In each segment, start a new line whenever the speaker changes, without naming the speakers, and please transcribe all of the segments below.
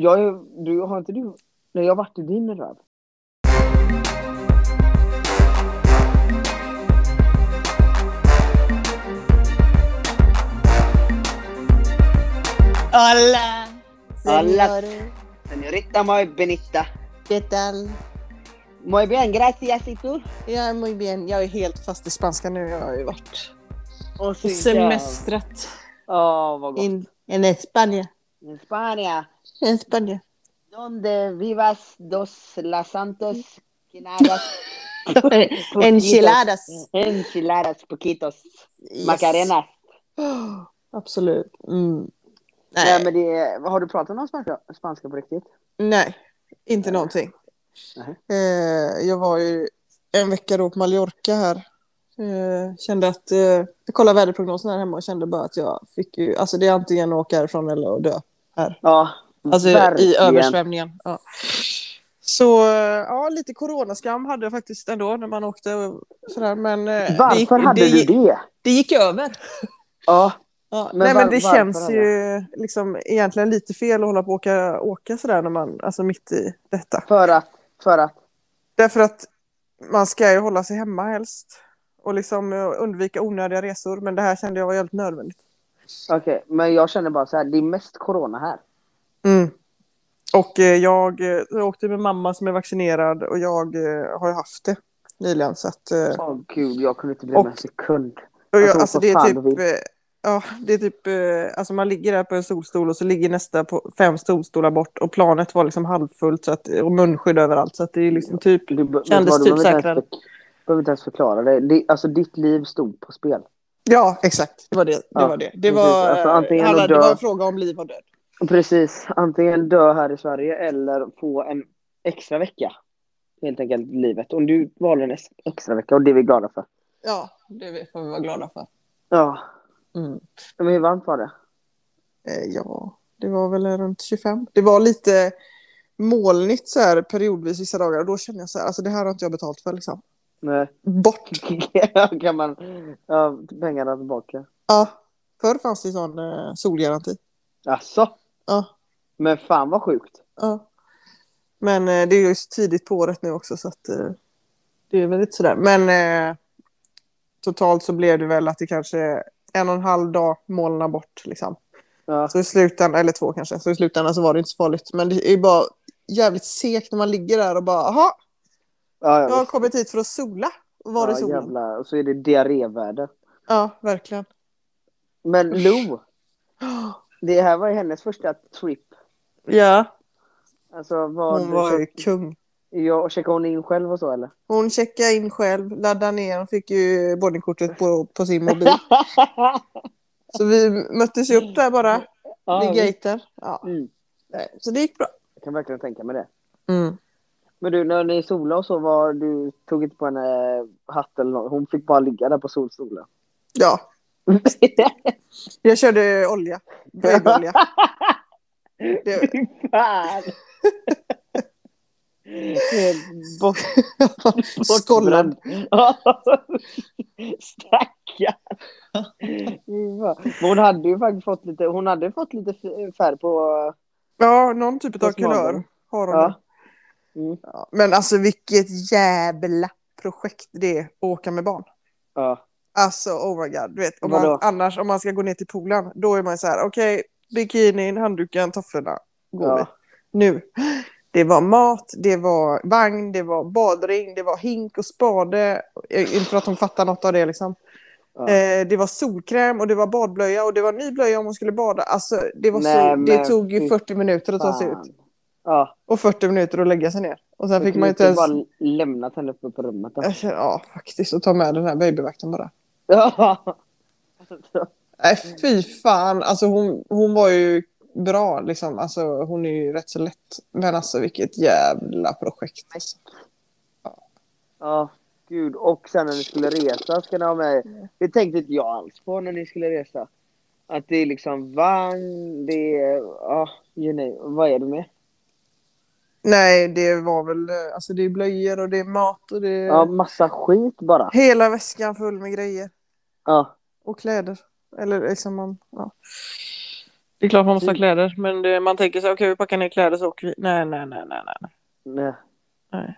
Jag är, du, har inte du... Nej, jag har varit i din röv.
Hola!
Hola.
señor.
Señorita muy benita.
¿Qué tal?
Muy bien, gracias y tú.
Ja, muy bien. Jag är helt fast i spanska nu. Jag har ju varit
Och
och semestrat
Åh, vad gott.
in, in España.
In Spanien.
En España.
Donde vivas dos las santos quinadas
Enchiladas.
enchiladas poquitos
Yes.
macarenas.
Absolut. Mm.
Nej,
Nej,
men det, är- har du pratat någon spanska, spanska på riktigt?
nej, inte någonting.
Nej.
Eh, jag var ju en vecka då på Mallorca här. Eh, kände att, eh, jag kollade väderprognosen här hemma och kände bara att jag fick ju, alltså det är antingen att åka härifrån eller att dö här.
Ja,
Alltså i
verkligen.
översvämningen. Ja. Så eh, ja, lite coronaskam hade jag faktiskt ändå när man åkte och sådär. Men eh,
Varför hade
det,
du det?
Det gick över.
Ja,
Ja,
Men
Nej
var-
men det
varför
känns
hade
ju liksom egentligen lite fel att hålla på och åka, åka sådär när man, alltså mitt i detta.
för att, för att.
Därför att man ska ju hålla sig hemma helst. Och liksom eh, undvika onödiga resor. Men det här kände jag var helt nödvändigt.
Okej, men jag känner bara så här, det är mest corona här.
Mm. Och eh, jag, eh, jag åkte med mamma som är vaccinerad och jag eh, har ju haft det nyligen. Så att, eh,
Åh gud, jag kunde inte bli
Och-
med en sekund.
och
Jag
jag,
tror
alltså
för
det är
fan du
typ, eh, ja, det är typ, eh, alltså man ligger där på en solstol och så ligger nästa på fem solstolar bort och planet var liksom halvfullt så att, och munskydd överallt så att det är liksom typ,
Du, be-
Kändes
vet du vad, du
typ
behöver inte
säkrare.
ens för- behöver inte ens förklara det. det. Alltså ditt liv stod på spel.
ja exakt, det var det. Det
Ja,
var det. Det
precis.
var,
Alltså,
eh,
antingen
alla,
att
det
dö-
var en fråga om liv och död.
Precis, antingen dö här i Sverige eller få en extra vecka. Helt enkelt livet. Och du valde en ex- extra vecka och det är vi glada för.
Ja, det får vi vara glada för.
Ja,
Mm.
men hur varmt var det?
Eh, Ja, det var väl runt 25. Det var lite molnigt så här periodvis vissa dagar och då kände jag så här, alltså det här har inte jag betalt för liksom.
Nej.
Bort!
kan man ja, pengarna tillbaka?
Ja, förr fanns det ju sån eh, solgaranti.
Alltså,
Ja,
men fan vad sjukt.
ja. Men eh, det är ju så tidigt på året nu också så att eh, det är väl lite sådär. Men eh, totalt så blev det väl att det kanske en och en halv dag molnar bort liksom.
Ja,
Så i slutändan, eller två kanske, så i slutändan så var det inte så farligt. Men det är ju bara jävligt segt när man ligger där och bara aha,
ja,
jag har
visst.
kommit hit för att sola. Och var det
ja,
solen?
jävlar. Och så är det diarréväder.
Ja, verkligen.
Men Lo, det här var ju hennes första trip.
Ja,
Alltså, vad,
hon var ju kung.
Ja, checkade hon in själv och så eller?
Hon checkade in själv, laddade ner, hon fick ju boardingkortet på, på sin mobil. Så vi möttes ju upp där bara, vid
visst.
gaten. Ja.
Mm.
Nej, Så det gick bra.
Jag kan verkligen tänka mig det.
Mm.
Men du, när ni solade och så, var, du tog inte på henne eh, hatt eller något. Hon fick bara ligga där på solstolen.
Ja, jag körde olja. Babyolja. Det,
Fy fan! Helt bort,
Skållad.
Stackarn! Fy fan. Men Hon hade ju faktiskt fått lite, hon hade fått lite f- färg på...
ja, någon typ av
Vad smal den.
kulör har hon.
Ja.
Ja.
Mm.
Men alltså vilket jävla projekt det är att åka med barn.
Ja.
Alltså oh my god, du vet. Om
Vadå?
man, annars om man ska gå ner till poolen, då är man så här, okej, bikinin, handduken, tofflorna, går vi.
ja.
nu. Det var mat, det var vagn, det var badring, det var hink och spade. Eh, Inte för att hon fattar något av det liksom.
Ja.
Eh, det var solkräm och det var badblöja och det var ny blöja om hon skulle bada. Alltså, det, var
Nej,
så, det
men
tog
fy
ju 40 minuter att ta sig
Fan.
ut.
Ja.
Och 40 minuter att lägga sig ner. Och sen
Jag
fick
kunde
man ju inte ens...
bara lämnat henne uppe på rummet. då.
Jag känner, ja, faktiskt. Och ta med den här babyvakten bara.
Ja.
Nej, Äh, fy fan. Alltså, hon, hon var ju bra liksom. Alltså, hon är ju rätt så lätt. Men alltså vilket jävla projekt. Alltså.
Ja, gud. Och sen när ni skulle resa ska ni ha med... Det tänkte inte jag alls på när ni skulle resa. Att det är liksom vagn, det är... Ja, you know. Vad är det med?
Nej, det var väl eh, alltså det är blöjor och det är mat och det är
Ja, massa skit bara.
hela väskan full med grejer
Ja.
och kläder. Eller liksom man, ja. Det är klart man måste ha kläder, men det, man tänker så här, okej vi packar ner kläder så åker vi. Nej, nej, nej, nej, nej. nej.
Nej.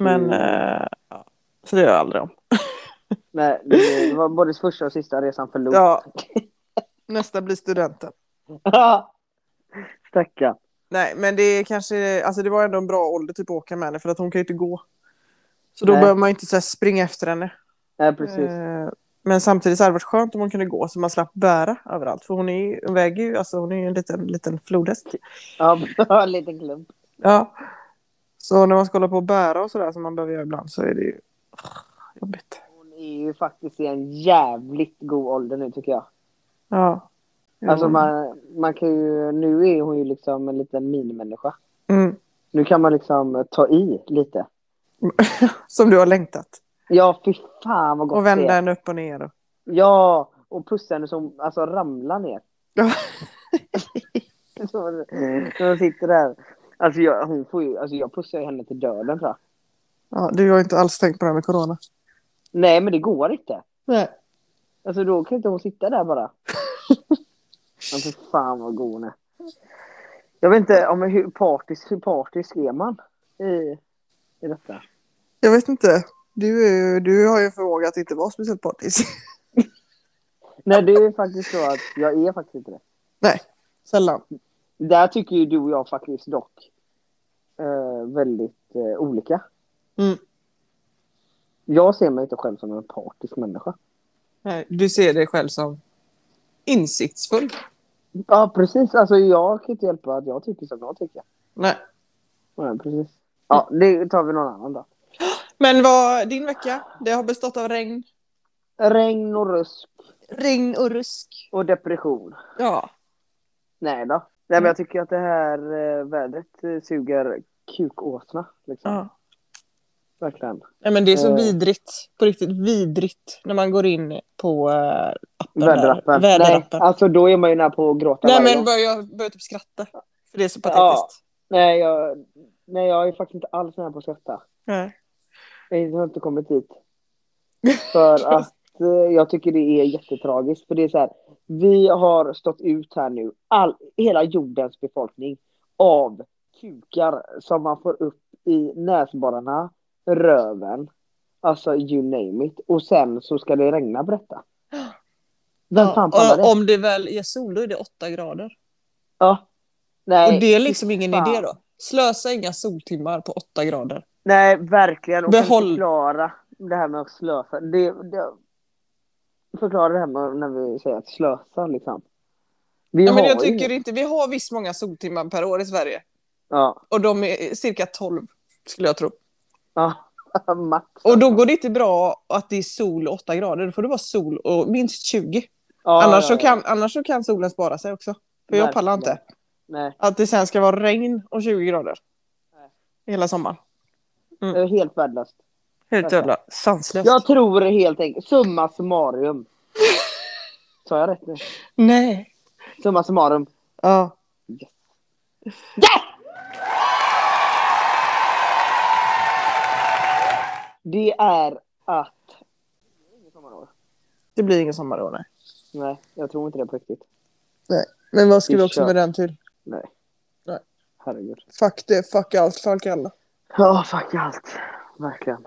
Men,
Mm.
eh, ja. så det gör jag aldrig om.
Nej, det var både första och sista resan för lång.
Ja. Nästa blir studenten.
Ja. Stackarn.
Nej, men det är kanske, alltså det var ändå en bra ålder typ att åka med henne för att hon kan ju inte gå. Så då
Nej.
behöver man ju inte så här springa efter henne.
Nej, precis.
Eh, Men samtidigt så hade det varit skönt om hon kunde gå så man slapp bära överallt. För hon, är, ju- hon väger ju, alltså hon är ju en liten, liten flodhäst.
Ja, bra, en liten klump.
Ja. Så när man ska hålla på och bära och sådär som man behöver göra ibland så är det ju ah, jobbigt.
Hon är ju faktiskt i en jävligt god ålder nu tycker jag.
Ja. Jo.
Alltså man, man kan ju, nu är hon ju liksom en liten minimänniska.
Mm.
Nu kan man liksom ta i lite.
Som du har längtat.
Ja, fy fan vad gott
Och vända
det är.
henne upp och ner. Och...
Ja, och pussa henne som alltså ramlar ner.
Ja.
Så hon- När hon sitter där. Alltså jag, hon får ju, alltså jag pussar ju henne till döden tror jag.
Ja, du har ju inte alls tänkt på det här med corona.
Nej, men det går inte.
Nej.
Alltså då kan inte hon sitta där bara. Men för fan vad god hon är. Jag vet inte om hur partisk, hur partisk är man i, i detta?
Jag vet inte. Du, är ju- du har ju en förmåga att inte vara speciellt partisk.
Nej, det är faktiskt så att jag är faktiskt inte det.
Nej, sällan.
Där tycker ju du och jag faktiskt dock eh, väldigt eh, olika.
Mm.
Jag ser mig inte själv som en partisk människa.
Nej, du ser dig själv som insiktsfull.
Ja, precis. Alltså jag kan inte hjälpa att jag tycker som jag tycker.
Nej.
Ja, precis. Ja, det tar vi någon annan dag.
Men vad, din vecka, det har bestått av regn.
Regn och rusk
Regn och rusk.
och depression.
Ja.
Nej då.
Mm.
Nej, men jag tycker att det här eh, vädret eh, suger kukåsna. Liksom.
ja.
Verkligen.
Nej, men det är så
Eh.
vidrigt. På riktigt vidrigt. När man går in på eh, appen. där.
Väderappen. Nej,
Väderappen. Nej,
alltså då är man ju nära på att gråta varje
men
gång.
bör, jag börjar typ skratta. För det är så
Ja.
patetiskt.
Nej, jag, nej, jag är faktiskt inte alls nära på att skratta.
Nej.
Jag har inte kommit dit. För att eh, jag tycker det är jättetragiskt. För det är så här, vi har stått ut här nu, all, hela jordens befolkning, av kukar som man får upp i näsborrarna, röven, alltså you name it. Och sen så ska det regna på detta. Vem fan pallar det?
och, om det väl är sol, då är det åtta grader.
Ja. Nej,
Och det är liksom ingen
fan.
idé då. Slösa inga soltimmar på åtta grader.
Nej, verkligen. Och
Behåll-
kan förklara det här med att slösa. Det, det, förklara det här med när vi säger att slösa, liksom. Vi
Ja, men
har
jag
ju-
tycker inte, vi har visst många soltimmar per år i Sverige.
Ja,
Och de är cirka 12 skulle jag tro.
ja. max.
Och då går det inte bra att det är sol och 8 grader. Då får det vara sol och minst 20.
Ja,
annars,
ja,
Så
ja.
kan, annars så kan solen spara sig också. För jag pallar
Verkligen.
inte.
Nej,
Att det sen ska vara regn och 20 grader.
Nej.
Hela sommaren.
det är helt värdelöst.
Helt jävla sanslöst.
Jag tror helt enkelt, summa summarum. Sa jag rätt nu?
Nej.
Summa summarum.
Ja.
Det är att... Inget sommarår.
Det blir ingen sommar då, nej.
Nej, jag tror inte det på riktigt.
Men vad ska
Vi
vi också
kör.
med den till?
Nej.
Nej.
Herregud.
Fuck det, fuck allt, fuck alla.
Ja, fuck allt. Verkligen.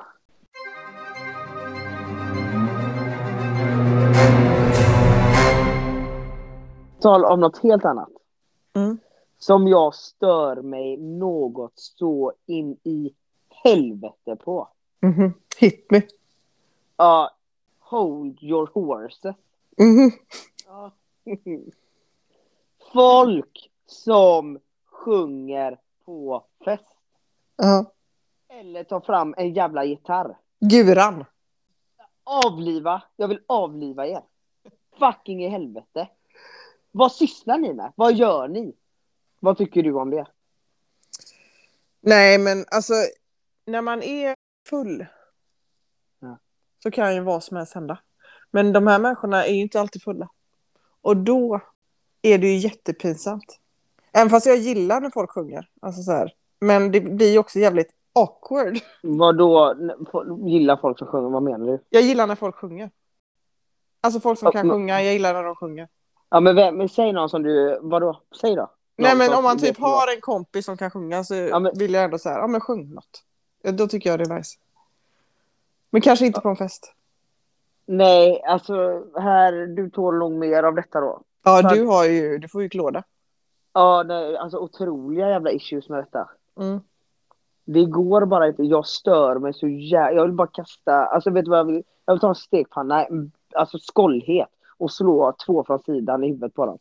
Tal om något helt annat.
Mm.
Som jag stör mig något så in i helvete på.
Mhm. Hit me.
Ja, hold your horses.
Mhm.
Folk som sjunger på fest.
Ja.
Eller tar fram en jävla gitarr.
Guran.
Avliva! Jag vill avliva er. Fucking i helvete. Vad sysslar ni med? Vad gör ni? Vad tycker du om det?
Nej, men alltså när man är full
Ja.
så kan ju vad som helst hända. Men de här människorna är ju inte alltid fulla. Och då är det ju jättepinsamt. Även fast jag gillar när folk sjunger. Alltså så här. Men det blir ju också jävligt awkward.
Vad då gillar folk som sjunger? Vad menar du?
Jag gillar när folk sjunger. Alltså folk som kan
Ja, men-
sjunga, jag gillar när de sjunger.
Ja men, vem, men säg någon som du, vadå? Säg då. Någon
Nej men
som
om man typ
vet vad-
har en kompis som kan sjunga så
Ja, men-
vill jag ändå säga, ja men sjung något. Ja, Då tycker jag det är nice. Men kanske inte på en fest.
Nej, alltså här, du tål nog mer av detta då.
Ja
Så att-
du har ju, du får ju klåda.
Ja, nej, alltså otroliga jävla issues med detta.
Mm.
Det går bara inte, jag stör mig så jävla... Jag vill bara kasta, alltså vet du vad jag vill? Jag vill ta en stekpanna, mm, alltså skållhet och slå två från sidan i huvudet på dem.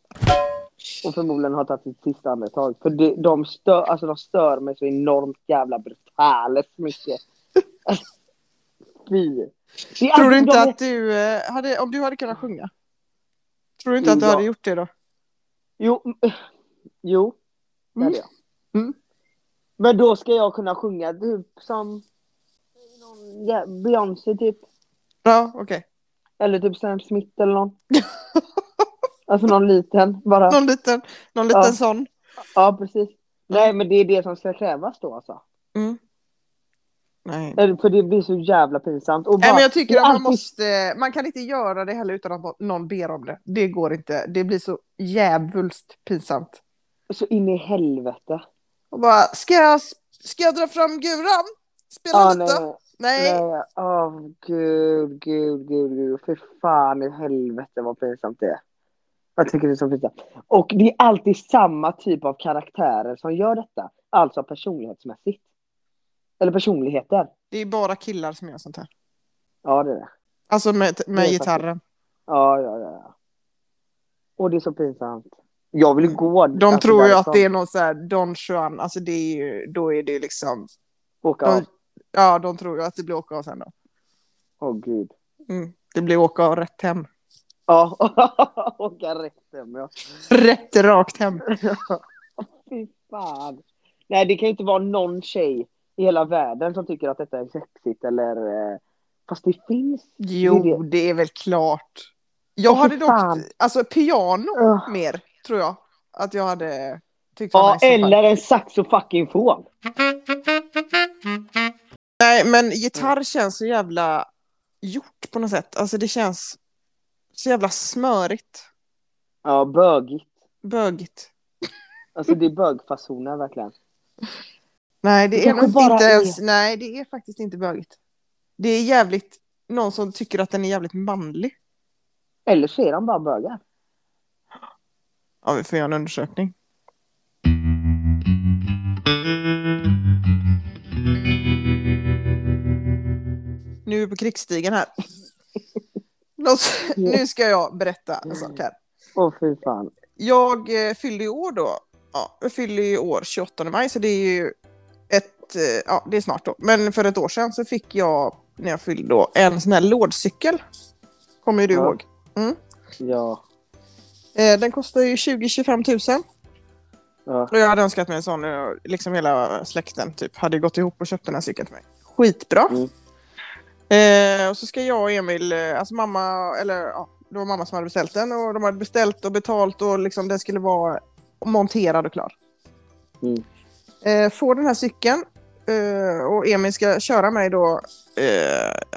Och förmodligen ha tagit sitt sista andetag. För det, de, stör, alltså, de stör mig så enormt jävla brutalt mycket. Alltså, Fy. Det är
Tror du
alltid
inte
de-
att du, eh, hade, om du hade kunnat sjunga? Tror du inte att du
Ja.
hade gjort det då?
Jo. mm, Jo. Det
Mm.
hade jag.
Mm.
Men då ska jag kunna sjunga typ som någon, ja, Beyoncé typ.
Ja okej.
Eller typ Sam Smith eller någon. alltså någon liten bara.
Någon liten, någon liten
Ja.
sån.
Ja precis. Nej men det är det som ska krävas då alltså.
Mm. Nej.
Eller, För det blir så jävla pinsamt. Och bara,
Nej, men jag tycker
det är
att man
alltid-
måste, man kan inte göra det heller utan att någon ber om det. Det går inte. Det blir så jävulst pinsamt.
Så in i helvete.
Och bara, ska jag, ska jag dra fram guran? Spela
Ja,
lite? Nej.
nej, nej. Åh gud, gud, gud, gud. Fy fan i helvete vad pinsamt det är. Jag tycker det är så pinsamt. Och det är alltid samma typ av karaktärer som gör detta. Alltså personlighetsmässigt. Eller personligheter.
Det är bara killar som gör sånt här.
Ja, det är det.
Alltså med, med
Det är
gitarren.
Ja, ja, ja. ja. Och det är så pinsamt. Jag vill gå. alltså
De tror ju
liksom.
att det är någon så här Don Juan, alltså det är ju, då är det ju liksom,
Åka
de,
av.
ja de tror ju att det blir åka av sen då.
Åh gud.
Mm. Det blir åka av rätt hem.
Ja, åka rätt hem ja.
Rätt rakt hem.
Fy fan. Nej, det kan ju inte vara någon tjej i hela världen som tycker att detta är sexigt eller... eh, Fast det finns.
Jo,
Det
det är väl klart. Jag
Åh, fy
hade dock,
fan.
alltså piano
Ugh.
mer, tror jag. Att jag hade tyckt var
Ja,
nice i alla fall.
eller en saxofuckingfon.
Nej, men gitarr känns så jävla gjort på något sätt. Alltså det känns så jävla smörigt,
Ja, bögigt.
bögigt.
Alltså det är bögfasoner verkligen.
Nej, det,
Det
är
kanske
nog
bara
inte
är-
ens, nej det är faktiskt inte bögigt. Det är jävligt, någon som tycker att den är jävligt manlig.
Eller så är de bara bögar.
Ja, vi får göra en undersökning. Nu är vi på krigsstigen här. Någon s- Nu ska jag berätta en sak här.
Åh fy fan.
Jag eh, fyllde ju år då. Ja, jag fyllde ju år 28 maj så det är ju ett, eh, ja det är snart då. Men för ett år sedan så fick jag, när jag fyllde då, en sån här lådcykel. Kommer ju du
Ja.
ihåg. Mm.
Ja.
Eh, den kostar ju 20-25 000.
ja.
Och jag hade önskat mig en sån, eh, liksom hela släkten typ hade gått ihop och köpt den här cykeln till mig. Skitbra.
Mm.
Eh, och så ska jag och Emil, eh, alltså mamma, eller ja, det var mamma som hade beställt den och de hade beställt och betalt och liksom den skulle vara monterad och klar.
Mm.
Eh, får den här cykeln eh, och Emil ska köra mig då eh,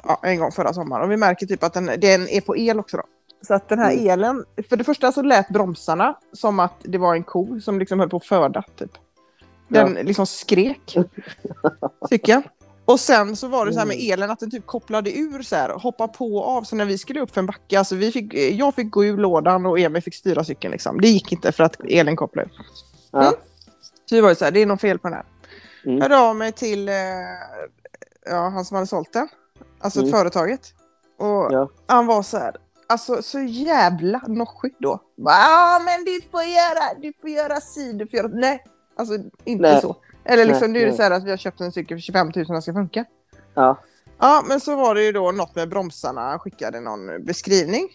ja, en gång förra sommaren och vi märker typ att den, den är på el också då. Så att den här
Mm.
elen, för det första så lät bromsarna som att det var en ko som liksom höll på att föda typ. Den liksom skrek. Tycker jag. Och sen så var det så här med elen att den typ kopplade ur så här, hoppa på och av. Så när vi skulle upp för en backe, alltså vi fick, eh, jag fick gå ur lådan och Emil fick styra cykeln liksom. Det gick inte för att elen kopplade ur.
Ja.
Mm. Så vi var ju så här, det är något fel på den här.
Mm.
Jag hörde av mig till eh, ja, han som hade sålt den, alltså
Mm.
företaget. Och
Ja.
han var så här, alltså så jävla noschig då. Bara, Ja men du får göra, du får göra si, du får göra, nej. Alltså inte
Nej.
så. Eller liksom
Nej,
nu är det
nej.
så här att vi har köpt en cykel för 25 000 den ska funka.
Ja.
Ja men så var det ju då något med bromsarna, han skickade någon beskrivning.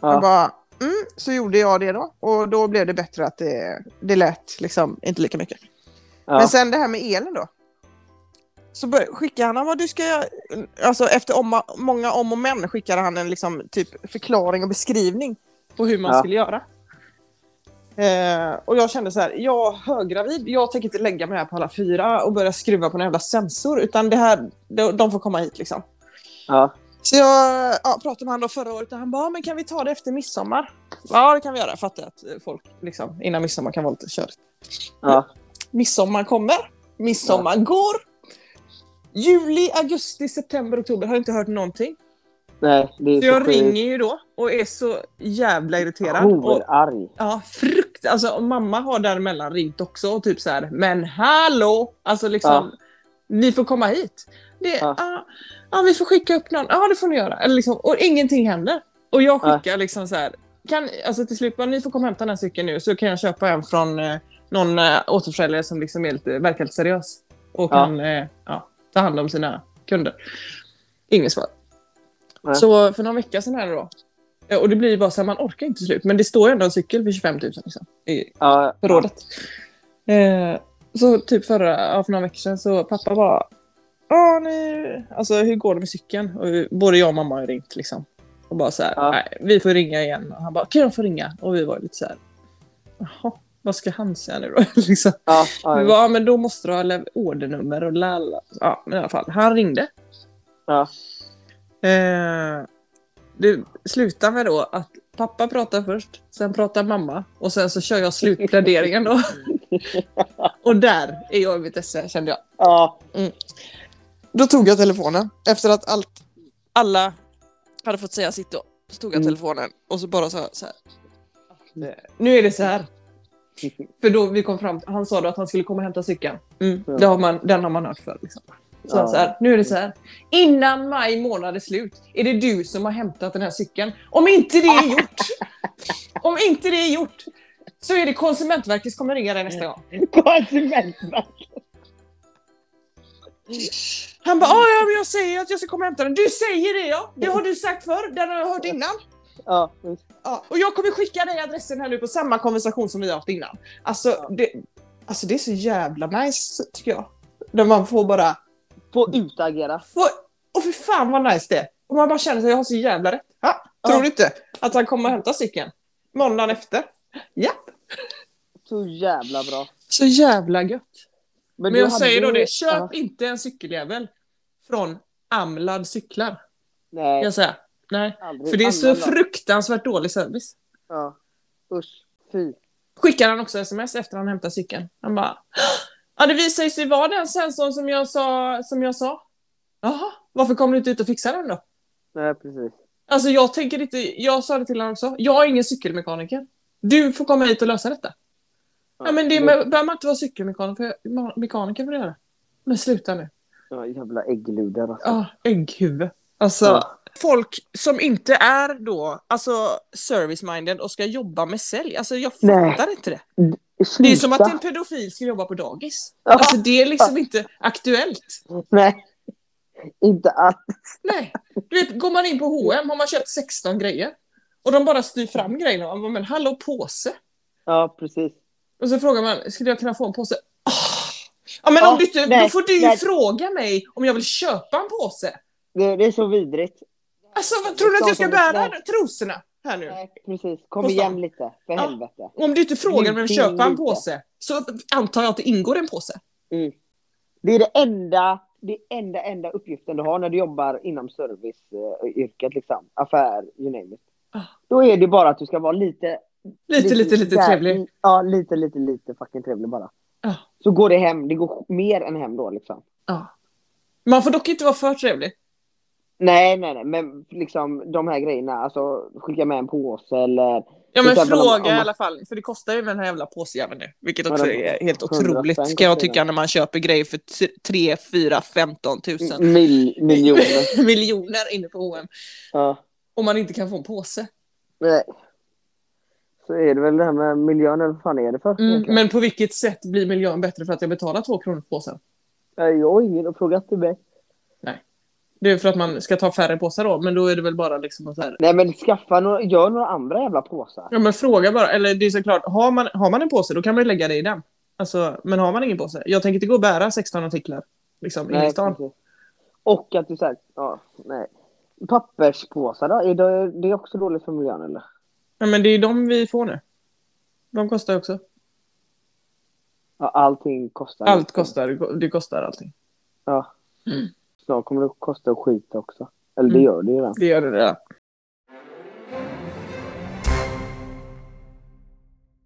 Jag
ja.
bara, mm, så gjorde jag det då. Och då blev det bättre att det, det lät liksom inte lika mycket. Men
ja.
sen det här med elen då. Så bör, skickade han, han bara, du ska, alltså efter om, många om och men skickade han en liksom, typ förklaring och beskrivning på hur man
Ja.
skulle göra. Eh, och jag kände så här, jag är höggravid, jag tänker inte lägga mig här på alla fyra och börja skruva på en jävla sensor, utan det här, de, de får komma hit liksom.
ja.
Så jag ja, pratade med honom då förra året och han bara, men kan vi ta det efter midsommar? Ja, det kan vi göra. Jag fattar att eh, folk liksom, innan midsommar kan vara lite körigt.
Ja.
Midsommar kommer, midsommar går. Juli, augusti, september, oktober har jag inte hört någonting.
Nej, det är
Så
så
jag
sjukt.
ringer ju då och är så jävla irriterad.
Oh,
Och,
Horarg.
ja, frukt. Alltså och mamma har däremellan ringt också och typ så här, men hallå! Alltså liksom, ni får komma hit. Det,
Ja.
ah, ah, vi får skicka upp någon. Ja, ah, det får ni göra. Eller liksom, och ingenting händer. Och jag
Nej.
skickar liksom så här, kan, alltså till slut bara, ni får komma och hämta den här cykeln nu så kan jag köpa en från eh, någon eh, återförsäljare som liksom är lite, verkar lite seriös. Och
Ja.
kan eh, ja, ta hand om sina kunder. Inget svar.
Nej.
Så för någon vecka sedan här då. eh, Och det blir ju bara så här, man orkar inte till slut. Men det står ju ändå en cykel för 25 000 liksom, i
Ja.
förrådet. Eh, så typ förra, ja, för några veckor sedan så pappa bara Ja, nu, alltså hur går det med cykeln? Och vi- både jag och mamma har ju ringt liksom. Och bara så här,
Ja.
nej, vi får ringa igen. Och han bara, kan jag få ringa? Och vi var ju lite så här, jaha, vad ska han säga nu då? liksom.
Ja,
Vi
ja,
bara, ja, men då måste du ha lev- ordernummer och lalla. Ja, men i alla fall, han ringde.
ja.
Eh, det slutar med då att pappa pratar först, sen pratar mamma och sen så kör jag slutpläderingen då. och där är jag i mitt esse kände jag.
ja.
Då tog jag telefonen efter att allt, alla hade fått säga sitt då. Så tog jag
Mm.
telefonen och så bara sa så här. eh, Nu är det så här. För då vi kom fram, han sa då att han skulle komma och hämta cykeln. Mm.
Ja.
Det har man, den har man hört för. Liksom. Så
Ja.
så här, nu är det så här. Innan maj månad är slut är det du som har hämtat den här cykeln. Om inte det är gjort, om inte det är gjort så är det Konsumentverket som kommer ringa dig nästa gång.
Konsumentverket.
Han bara, "Ah, "Ja, ja, men jag säger att jag ska komma och hämta den. Du säger det ja, det har du sagt förr, den har jag hört innan.
Ja.
Ja, och jag kommer skicka dig adressen här nu på samma konversation som vi har haft innan. Alltså, det, alltså det är så jävla nice tycker jag. När man får bara,
Få utagera.
få, och för fan vad nice det är. Och man bara känner sig, jag har så jävla rätt. Ja, tror
Ja.
du inte att han kommer och hämtar cykeln? Måndagen efter. Ja,
Så jävla bra.
så jävla gött. Men,
du
jag
hade
säger då
ju-
det, köp
Ja.
inte en cykeljävel från Amlad cyklar.
Nej,
Jag säger, nej.
aldrig
För det är så
använda.
fruktansvärt dålig service.
Ja. Usch, fy.
skickar han också sms efter han hämtar cykeln. Han bara, ja det visar sig vara den sensorn som jag sa, som jag sa. Jaha, varför kom du inte ut och fixade den då?
Nej, precis.
Alltså jag tänker inte, jag sa det till honom också, jag är ingen cykelmekaniker. Du får komma hit och lösa detta. Ja, men det med, behöver man inte vara cykelmekaniker för, mekaniker för att göra. Men sluta nu.
Ja, jävla äggludar alltså.
Ja, ägghuvud. Alltså,
Ja.
folk som inte är då, alltså service-minded och ska jobba med sälj. Alltså jag
Nej.
fattar inte det.
Sluta.
Det är som att en pedofil skulle jobba på dagis.
Ja.
Alltså det är liksom inte aktuellt.
Nej. Inte att.
Nej. Du vet, går man in på H&M har man köpt 16 grejer. Och de bara styr fram grejerna. Man bara, men hallå påse.
Ja, precis.
Och så frågar man, skulle jag kunna få en påse? Ah. Ja men
Ja,
om du inte, då
nej,
får du ju
nej.
fråga mig om jag vill köpa en påse.
Det, det är så vidrigt.
Alltså vad tror du att jag ska bära trosorna här nu?
Nej, precis. Kom
På
igen
stan.
lite, för
Ja.
helvete.
Om du inte frågar om jag vill köpa en
Lite.
påse så antar jag att det ingår i en påse.
Det är det enda, det enda, enda uppgiften du har när du jobbar inom serviceyrket, liksom. affär, you name it.
Ah.
Då är det bara att du ska vara lite...
Lite, lite, lite
där-
trevlig.
Ja, lite, lite, lite fucking trevlig bara.
Ja.
Så går det hem, det går mer än hem då liksom.
Ja. Man får dock inte vara för trevlig.
Nej, nej, nej, men liksom de här grejerna, alltså skicka med en påse eller...
Ja men
Till exempel om-
fråga
om man-
i alla fall, för det kostar ju med den här jävla påsjäveln nu. Vilket
Ja,
också
den-
är helt
100 spänn
otroligt kan jag
kostar
tycka när man köper grejer för t- 3, 4, 15 tusen
Mil, miljoner.
miljoner inne på H&M
ja.
Om man inte kan få en påse.
Nej. Så är det väl det här med miljön, eller vad fan är det för?
Mm,
egentligen?
men på vilket sätt blir miljön bättre för att jag betalar två kronor för påsen?
Nej, Jag har ingen att fråga till mig.
Det är för att man ska ta färre påsar då, men då är det väl bara liksom så här.
Nej men skaffa några, gör några andra jävla påsar.
Ja men fråga bara, eller det är såklart, har man, har man en påse då kan man ju lägga det i den. Alltså, men har man ingen påse, jag tänker inte gå och bära 16 artiklar. Liksom, in i
Nej,
stan.
precis. Och att du säger, ja, nej. Papperspåsar då? Är det, det är också dåligt för miljön eller?
Ja, men det är ju de vi får nu. De kostar ju också.
Ja, allting kostar. Liksom.
Allt kostar, det kostar allting.
Ja. Snart kommer det kosta skit också. Eller det
Mm.
gör det ju redan.
Det gör det där.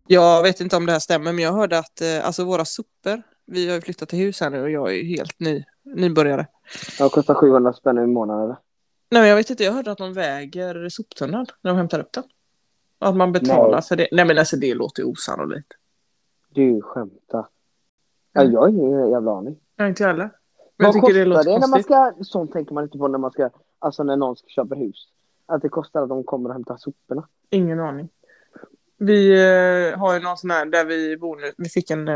Jag vet inte om det här stämmer, men jag hörde att eh, alltså våra sopor, vi har ju flyttat till hus här nu och jag är ju helt ny, nybörjare.
Jag kostar 700 spänn i månaden.
Nej, men jag vet inte, jag hörde att de väger soptunnan när de hämtar upp den. Och att man betalar
Nej.
för det. Nej, men alltså det låter ju osannolikt.
Du skämtar. Ja, jag har ingen jävla aning.
Nej, inte jag heller. Mm. Men jag
Vad
tycker
kostar
det
det,
låter
när man
konstigt.
ska... Sånt tänker man inte på när man ska... Alltså när någon ska köpa hus. Att det kostar att de kommer och hämtar soporna.
Ingen aning. Vi eh, har ju någon sån här där vi bor nu. Vi fick en... Eh,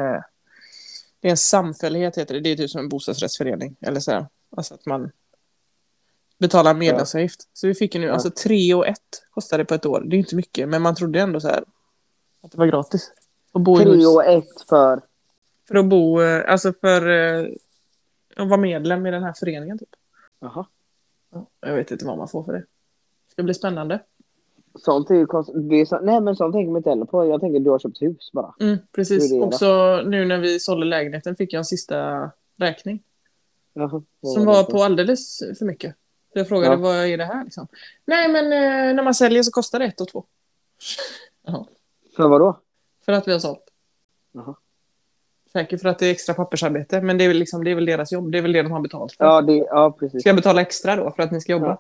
det är en samfällighet heter det. Det är typ som en bostadsrättsförening. Eller så här. Alltså att man betalar medlemsavgift. Så vi fick ju nu,
Ja.
alltså 3 och 1 kostade det på ett år. Det är inte mycket, men man trodde ändå så här att det var gratis. Att bo i hus.
Tre och ett för...
För att bo, eh, alltså för eh, att vara medlem i den här föreningen typ.
Jaha.
Ja, Jag vet inte vad man får för det. Det ska bli spännande.
Sånt är ju konstigt. Det är så... Nej men sånt tänker man inte heller på. Jag tänker du har köpt hus bara.
Mm, precis.
Hur är det?
Också nu när vi sålde lägenheten fick jag en sista räkning.
Jaha.
Som var på alldeles för mycket. Så Jag frågade
Ja.
vad är det här liksom? Nej men eh, när man säljer så kostar det ett och två. Ja,
För vadå?
för att vi har sålt.
Jaha.
Säkert för att det är extra pappersarbete. Men det är, väl liksom, det är väl deras jobb. Det är väl det de har betalt för.
Ja, det... ja precis.
Ska jag betala extra då för att ni ska jobba?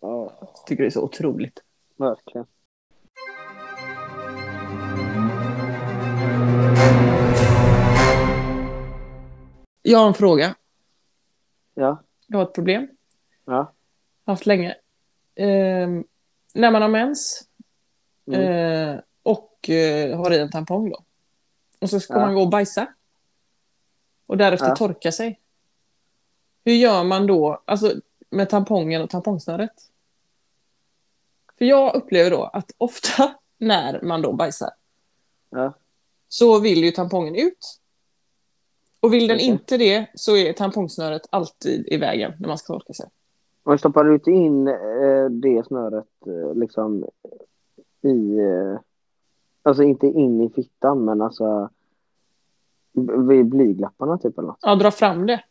Ja,
Tycker det är så otroligt.
verkligen.
Jag har en fråga.
Ja.
Jag har ett problem.
Ja.
haft länge. Ehm, när man har mens
Mm.
eh, och eh, har i en tampong då. Och så ska
Ja.
man gå och bajsa. Och därefter
Ja.
torka sig. Hur gör man då, alltså med tampongen och tampongsnöret? För jag upplever då att ofta när man då bajsar
Ja.
så vill ju tampongen ut. Och vill den
Okej.
inte det så är tampongsnöret alltid i vägen när man ska torka sig.
Man stoppar ut in eh, det snöret eh, liksom i... Eh, alltså inte in i fittan men alltså b- vid blygdlapparna typ eller något.
Ja, dra fram det.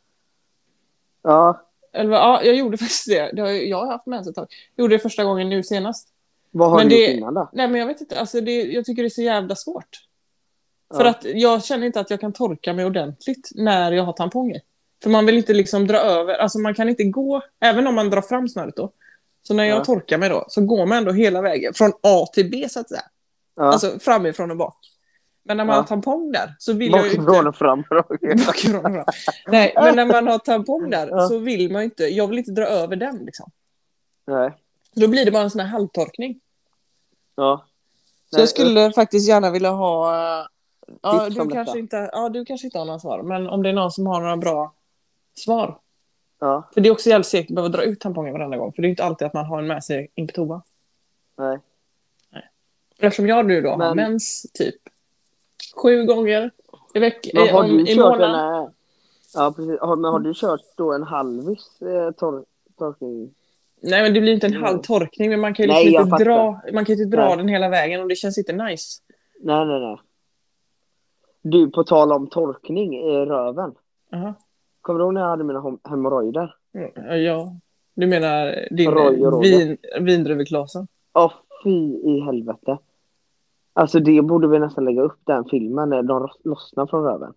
Ja,
Eller, ja, jag gjorde faktiskt det. det har, jag jag har haft mens ett tag. Jag gjorde det första gången nu senast.
vad har
Men
du
det-
gjort innan då?
Nej, men jag vet inte. Alltså, det, jag tycker det är så jävla svårt. För
Ja.
att jag känner inte att jag kan torka mig ordentligt när jag har tamponger. För man vill inte liksom dra över. Alltså man kan inte gå, även om man drar fram snöret då. Så när jag
Ja.
torkar mig då, så går man ändå hela vägen. Från A till B så att säga.
Ja.
Alltså framifrån och bak. Men när man
Ja.
har tampong där så vill jag ju inte...
Bakifrån och fram.
Bakifrån och fram. Nej, men när man har tampong där
Ja.
så vill man ju inte... Jag vill inte dra över den liksom.
Nej.
Då blir det bara en sån här halvtorkning.
Ja.
Så
Nej, eh,
jag skulle faktiskt gärna vilja ha... eh, Ja
Tips
du,
om detta.
kanske inte, ja, du kanske inte har några svar, men om det är någon som har några bra svar.
Ja,
För det är också jävligt segt att behöva dra ut tampongen varenda gång, för det är inte alltid att man har en med sig in på toa.
nej.
Eftersom jag nu då har
Men-
mens typ sju gånger i veckan,
Men har du
Eh, i
kört en...
månaden.
eh, Ja, precis. Har, men har du kört då en halvis eh, tor- torkning?
Nej men det blir inte en halv torkning, men man kan ju
Mm. Nej,
liksom
jag
inte
fattar.
dra, man kan ju inte dra
Nej.
den hela vägen och det känns inte nice.
Nej, nej, nej. Du, på tal om torkning i röven.
Jaha.
Kommer du ihåg när jag hade mina hem- hemorrojder?
Mm, Ja, du menar din
Roy och Roger.
vin, vindruveklasen?
Åh fy i helvete. Alltså det borde vi nästan lägga upp den filmen när de ros- lossnar från röven.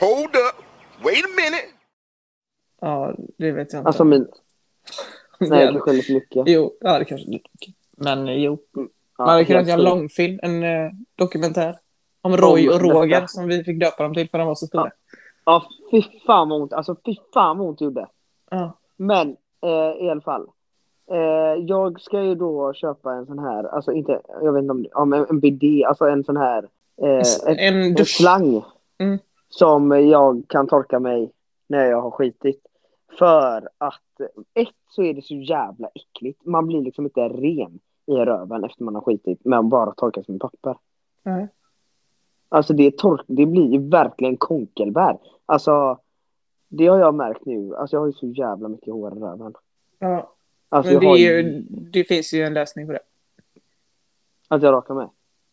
Hold up. Wait a minute.
Ja, det vet jag inte.
Alltså min...
Det
Nej, jag
är-
kanske lite mycket.
Jo, ja, det kanske är lite mycket. Men eh, jo.
Ja,
Man hade kunnat
helt
göra en
stor.
långfilm, en eh, dokumentär. Om Roy
Om
och Roger
detta.
som vi fick döpa dem till för de var så stora.
Ja, fy fan vad ont. Alltså fy fan vad ont det gjorde.
Ja.
Men eh, i alla fall. Eh, jag ska ju då köpa en sån här, alltså inte, jag vet inte om, om en, en BD, alltså en sån här. Eh,
S-
ett-
en
en
dusch.
slang.
Mm.
Som jag kan torka mig när jag har skitit. För att ett så är det så jävla äckligt. Man blir liksom inte ren i röven efter man har skitit. Men bara torkar sig med papper.
Nej.
Alltså det, är tork, det blir ju verkligen konkelbär. Alltså det har jag märkt nu. Alltså jag har ju så jävla mycket hår i röven.
Ja.
Alltså
Men det,
jag har ju...
är ju, det finns ju en lösning på det.
Att jag rakar mig.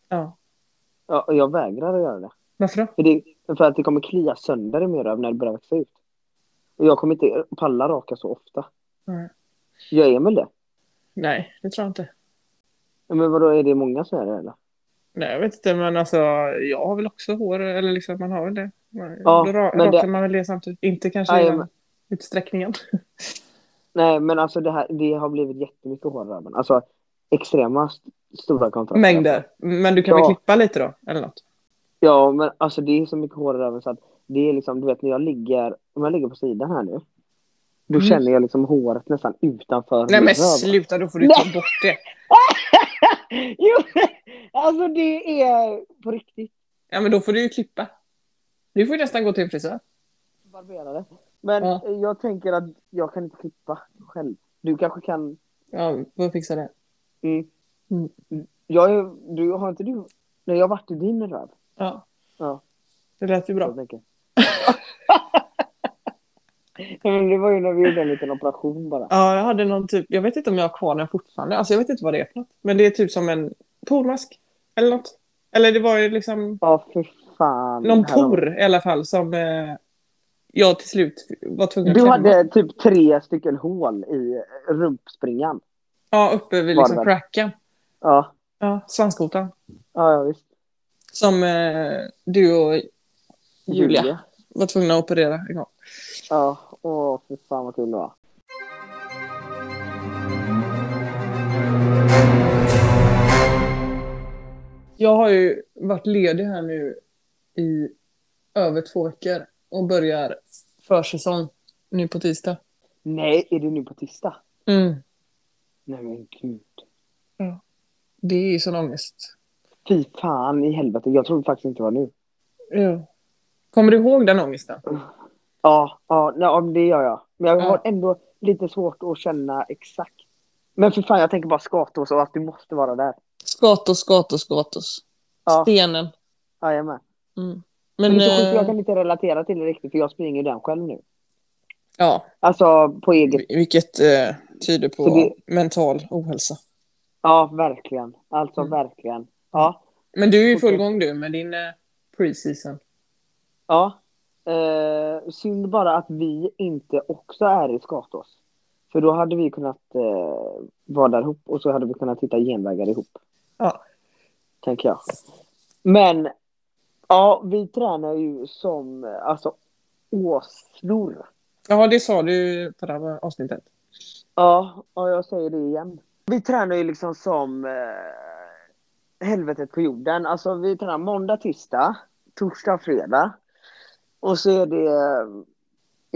Ja.
Ja, och jag vägrar att göra det.
Varför då?
För, det. för att det kommer klia sönder i min röv när det börjar växa ut. Och jag kommer inte palla raka så ofta.
Nej.
Gör Emil det?
Nej, det tror jag inte.
Ja, Men vadå, är det många som är det eller?
Nej, jag vet inte, men alltså jag har väl också hår, eller liksom man har väl det. Man,
Ja,
då ra-
men
rakar
det-
man väl det samtidigt. Inte kanske
Nej,
i den
men-
utsträckningen.
Nej men alltså det, här, det har blivit jättemycket hår i röven. Alltså extrema st- stora kontraster.
Mängder. Men du kan
Ja.
väl klippa lite då, eller något?
Ja men alltså det är så mycket hår i röven så att det är liksom, du vet när jag ligger, om jag ligger på sidan här nu. Då
Mm.
känner jag liksom håret nästan utanför
Nej
min röv.
men sluta, då får du ta bort det.
Jo, alltså det är på riktigt
Ja men då får du ju klippa. Du får ju nästan gå till en frisör.
barberade. Men
Ja.
jag tänker att jag kan inte klippa själv. Du kanske kan?
Ja, vi får fixa det.
Mm.
Mm.
Jag är, du, har inte du? Nej, jag har varit i din röv.
Ja.
Ja.
Det lät ju bra.
Jag tänker. Men det var ju när vi gjorde en liten operation bara.
Ja, jag hade någon typ, jag vet inte om jag har kvar den fortfarande. Alltså jag vet inte vad det är för något. Men det är typ som en pormask. Eller något. Eller det var ju liksom
Ja, för fan.
någon
Här har-
por i alla fall som eh, jag till slut var tvungen att
Du
klämma.
hade typ tre stycken hål i rumpspringan.
Ja, uppe vid
Var
liksom
det väl?
cracken.
Ja,
Ja, svanskotan.
ja, ja visst.
Som eh, du och Julia var tvungna att operera en gång.
Ja, åh fy fan vad kul det var.
Jag har ju varit ledig här nu i över två veckor och börjar försäsong nu på tisdag.
Nej, är det nu på tisdag?
Mm.
Nej men gud.
Det är ju sån ångest.
Fy fan i helvete, jag trodde faktiskt inte det var nu.
Ja. Kommer du ihåg den ångesten?
Ja, ja, nej, ja, men det gör jag. Men jag
Ja.
har ändå lite svårt att känna exakt. Men för fan, jag tänker bara Skatås och att du måste vara där.
Skatos, skatos, skatos.
Ja,
Stenen.
ja jag med.
Mm.
Men,
Men,
det är så sjukt,
eh,
jag kan inte relatera till det riktigt för jag springer den själv nu.
ja,
Alltså på eget...
vilket eh, tyder på
Så det-
mental ohälsa.
Ja, verkligen. Alltså
Mm.
verkligen. Ja,
Men du är i full
Okej.
gång du med din eh, preseason.
ja. Eh, synd bara att vi inte också är i Skatås. För då hade vi kunnat eh, vara där ihop och så hade vi kunnat hitta genvägar ihop.
Ja.
tänker jag. Men ja, vi tränar ju som alltså åsnor.
Ja, det sa du förra avsnittet.
Ja, och jag säger det igen. Vi tränar ju liksom som eh, helvetet på jorden. Alltså vi tränar måndag, tisdag, torsdag, fredag. Och så är det eh,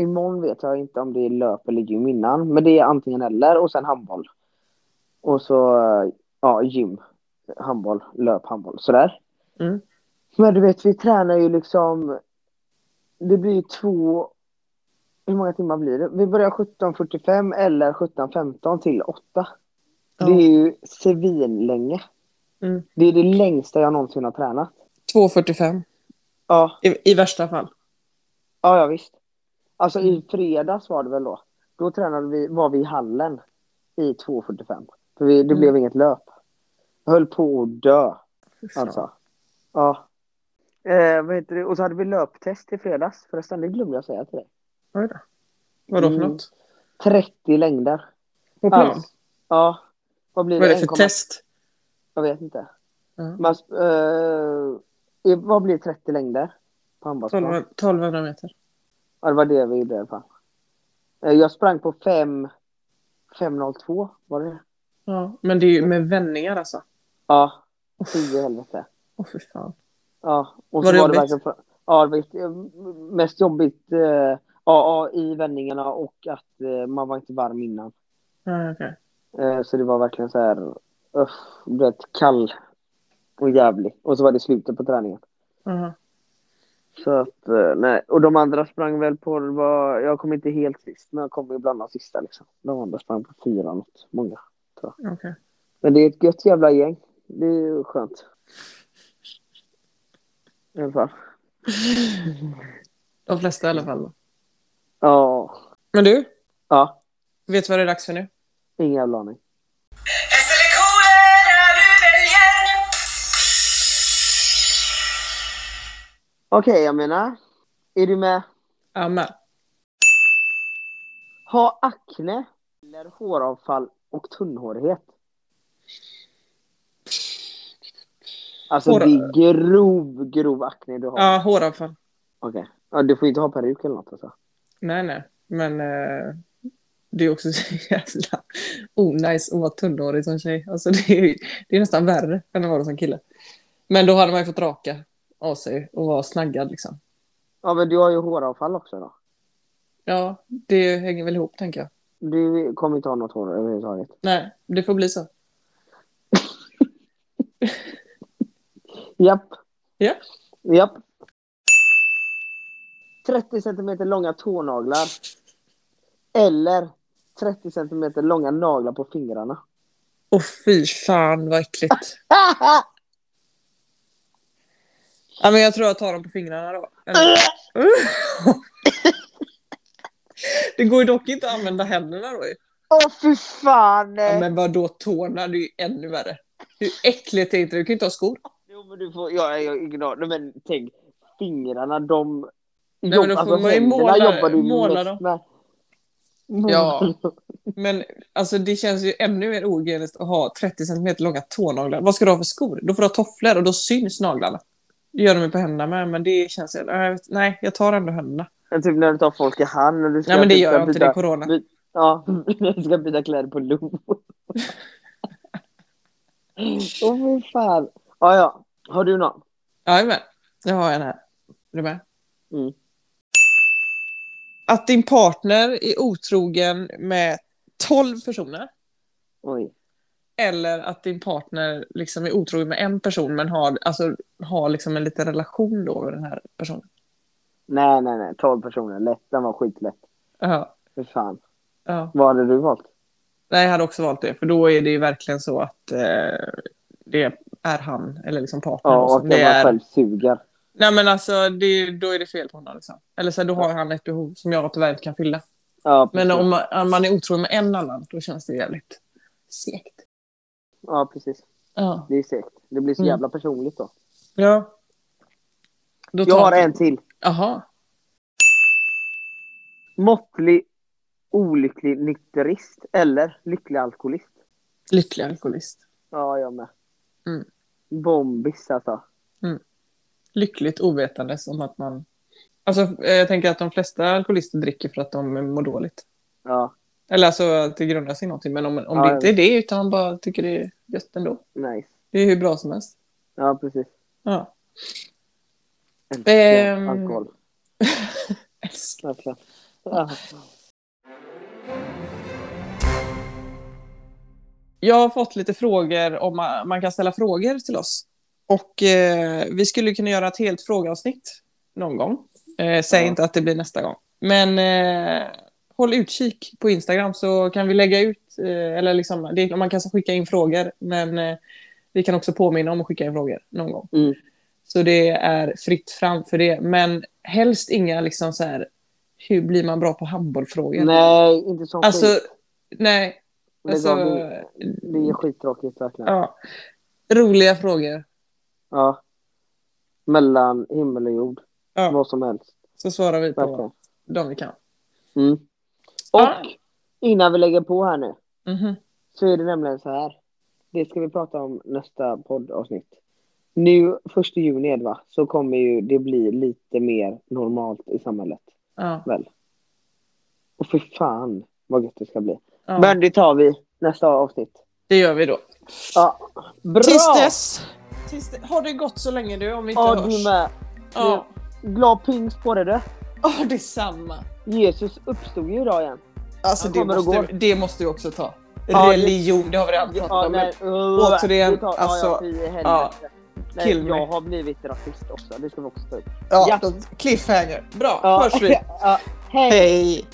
imorgon vet jag inte om det är löp eller gym innan, men det är antingen eller och sen handboll. Och så eh, ja, gym, handboll, löp, handboll, sådär.
Mm.
Men du vet, vi tränar ju liksom. Det blir ju två. Hur många timmar blir det? Vi börjar 17.45 eller 17.15 till 8.
Ja.
Det är ju svinlänge.
Mm.
Det är det längsta jag någonsin har tränat.
2.45
Ja,
i, i värsta fall.
ja, ja visst. Alltså i fredags var det väl då. Då tränade vi, var vi i hallen i 2.45. För vi, det
Mm.
blev inget löp. Jag höll på att dö. Alltså. Ja. Eh, vad heter det? Och så hade vi löptest i fredags. Förresten, det glömde jag säga till dig.
Oj då. Vadå för
Mm.
något?
30 längder.
På plan?
Alltså, ja. Vad blir
Vad är det
1,2?
för test?
Jag vet inte.
Ja.
Man, eh, i- vad blir 30 längder? På handbollsplan.
12 1200 meter.
Ja, det var det vi gjorde i alla fall. Eh, jag sprang på 5... 5.02 var det.
Ja, men det är ju med vändningar alltså.
Ja. Fy i helvete.
Åh fy fan.
Ja, och
Var
så
det
var det
jobbigt?
verkligen för, ja, det var jätte- eh, mest jobbigt eh, ja, ja, i vändningarna och att eh, man var inte varm innan.
Nej, okej.
Eh, så det var verkligen så här, öff, du vet, kall och jävlig. Och så var det slutet på träningen.
Jaha.
Så att, eh, nej. Och de andra sprang väl på, det var, jag kom inte helt sist, men jag kom ju bland de sista liksom. De andra sprang på fyra något, många.
Okej.
Men det är ett gött jävla gäng. Det är ju skönt. I alla fall.
De flesta i alla fall. då.
Ja,
Men du,
ja,
vet du vad det är dags för nu?
ingen jävla aning.
Läser lektionerna du väljer
Okej, jag menar. Är du med?
Amma.
Ha akne. Eller håravfall och tunnhårighet. Alltså
Hår-
det är grov, grov akne du har.
Ja, håravfall.
Okej. Ja, du får inte ha peruk eller något alltså.
Nej, nej. Men eh, det är också så jävla onajs att vara tunnhårig som tjej. Alltså, det, är, ju- det är nästan värre än att vara det som kille. Men då hade man ju fått raka av sig och vara snaggad liksom.
Ja men du har ju håravfall också då.
Ja, det hänger väl ihop tänker jag.
Du kommer inte ha något hår överhuvudtaget.
Nej, det får bli så.
Japp.
Ja.
Japp. 30 centimeter långa tånaglar. Eller 30 centimeter långa naglar på fingrarna.
Åh fy fan vad äckligt. Ja, men jag tror jag tar dem på fingrarna då. Eller... det går ju dock inte att använda händerna då ju.
Åh fy fan!
Ja, men vadå tårna, det är ju ännu värre. Hur äckligt är inte det? Du kan ju inte ha skor.
Jo men du får, jag är ingen aning, men tänk fingrarna de...
Nej, men då får man ju
händerna
måla-
jobbar du
måla
mest
dem.
med.
Ja. Men alltså, det känns ju ännu mer ohygieniskt att ha 30 cm långa tånaglar. Vad ska du ha för skor? Då får du ha tofflor och då syns naglarna. Det gör de ju på händerna med, men det känns... ju- nej, jag vet- Nej, jag tar ändå händerna.
Men Typ när du tar folk i hand och du ska
Nej, men det
typ
gör
ska
jag inte. Det
byta-
är corona.
by- Ja,
Mm.
du ska byta kläder på Lo. Åh fy fan. Ja, ja. Har du någon?
Jajamän, jag har en här. Är du med?
Mm.
Att din partner är otrogen med 12 personer
Oj.
eller att din partner liksom är otrogen med en person men har, alltså, har liksom en liten relation då med den här personen.
Nej, nej, nej. 12 personer. Lätt. Den var skitlätt.
Ja,
Fy fan.
ja.
Vad hade du valt?
Nej, jag hade också valt det för då är det ju verkligen så att eh, det är han eller liksom partnern.
Ja,
då
och
som
att
det
man
är...
själv suger.
Nej men alltså det, då är det fel på honom liksom. Eller så här, då har han ett behov som jag tyvärr inte kan fylla.
Ja,
Men
precis.
om man, om man är otrogen med en annan, då känns det jävligt segt.
Ja, precis.
Ja.
Det är segt. Det blir så
Mm.
jävla personligt då.
ja. Då
Jag
tar-
har en till.
Jaha.
Måttlig olycklig nykterist eller lycklig alkoholist.
Lycklig alkoholist.
Ja, jag med.
Mm.
Bombis alltså.
Lyckligt ovetandes om att man... Alltså, eh, jag tänker att de flesta alkoholister dricker för att de mår dåligt.
Ja,
Eller alltså att det grundar sig i någonting. Men om, om
Ja,
det inte är det, utan man bara tycker det är gött ändå.
nice.
Det är hur bra som helst.
Ja, precis.
Ja.
Älskar
Ehm.
alkohol.
Älskar.
Verkligen. Ja.
Jag har fått lite frågor om man, man kan ställa frågor till oss. Och eh, vi skulle kunna göra ett helt frågeavsnitt någon gång. Eh, säg
Ja.
inte att det blir nästa gång. Men eh, håll utkik på Instagram så kan vi lägga ut, eh, eller liksom, det, man kan så skicka in frågor, men eh, vi kan också påminna om att skicka in frågor någon gång.
Mm.
Så det är fritt fram för det, men helst inga liksom så här, hur blir man bra på handbollfrågor?
Nej, inte sån
Alltså,
skit.
nej.
Det är
Alltså,
bra, Det är skittråkigt verkligen. Ja.
ja. Roliga frågor.
Mellan himmel och jord.
Ja,
Vad som helst.
så svarar vi på
Verkligen.
dem vi kan.
Mm. Och
Ja.
innan vi lägger på här nu.
Mhm.
Så är det nämligen så här. Det ska vi prata om nästa poddavsnitt. Nu första juni är det, va? Så kommer ju det bli lite mer normalt i samhället.
Ja,
Väl? Och för fan vad gött det ska bli.
ja.
Men det tar vi nästa avsnitt.
det gör vi då.
Ja. Bra!
Tills dess. Tills dess. Har det gått så länge du om vi inte
Ja,
hörs?
du med.
Ja.
Glad pingst på dig du.
ja, detsamma.
Jesus uppstod ju idag igen.
Alltså,
Han
det
kommer och
måste,
går.
det måste vi också ta.
Ja, det-
Religion, det har vi redan pratat om. men-
nej, uh,
återigen,
vi tar- ja,
alltså,
ja, fy i helvete.
ja.
Nej,
Kill me.
jag har blivit rasist också. Det ska vi också ta upp.
ja,
ja.
Cliffhanger. Bra,
Ja.
hörs vi.
Ja, hej.
Hej.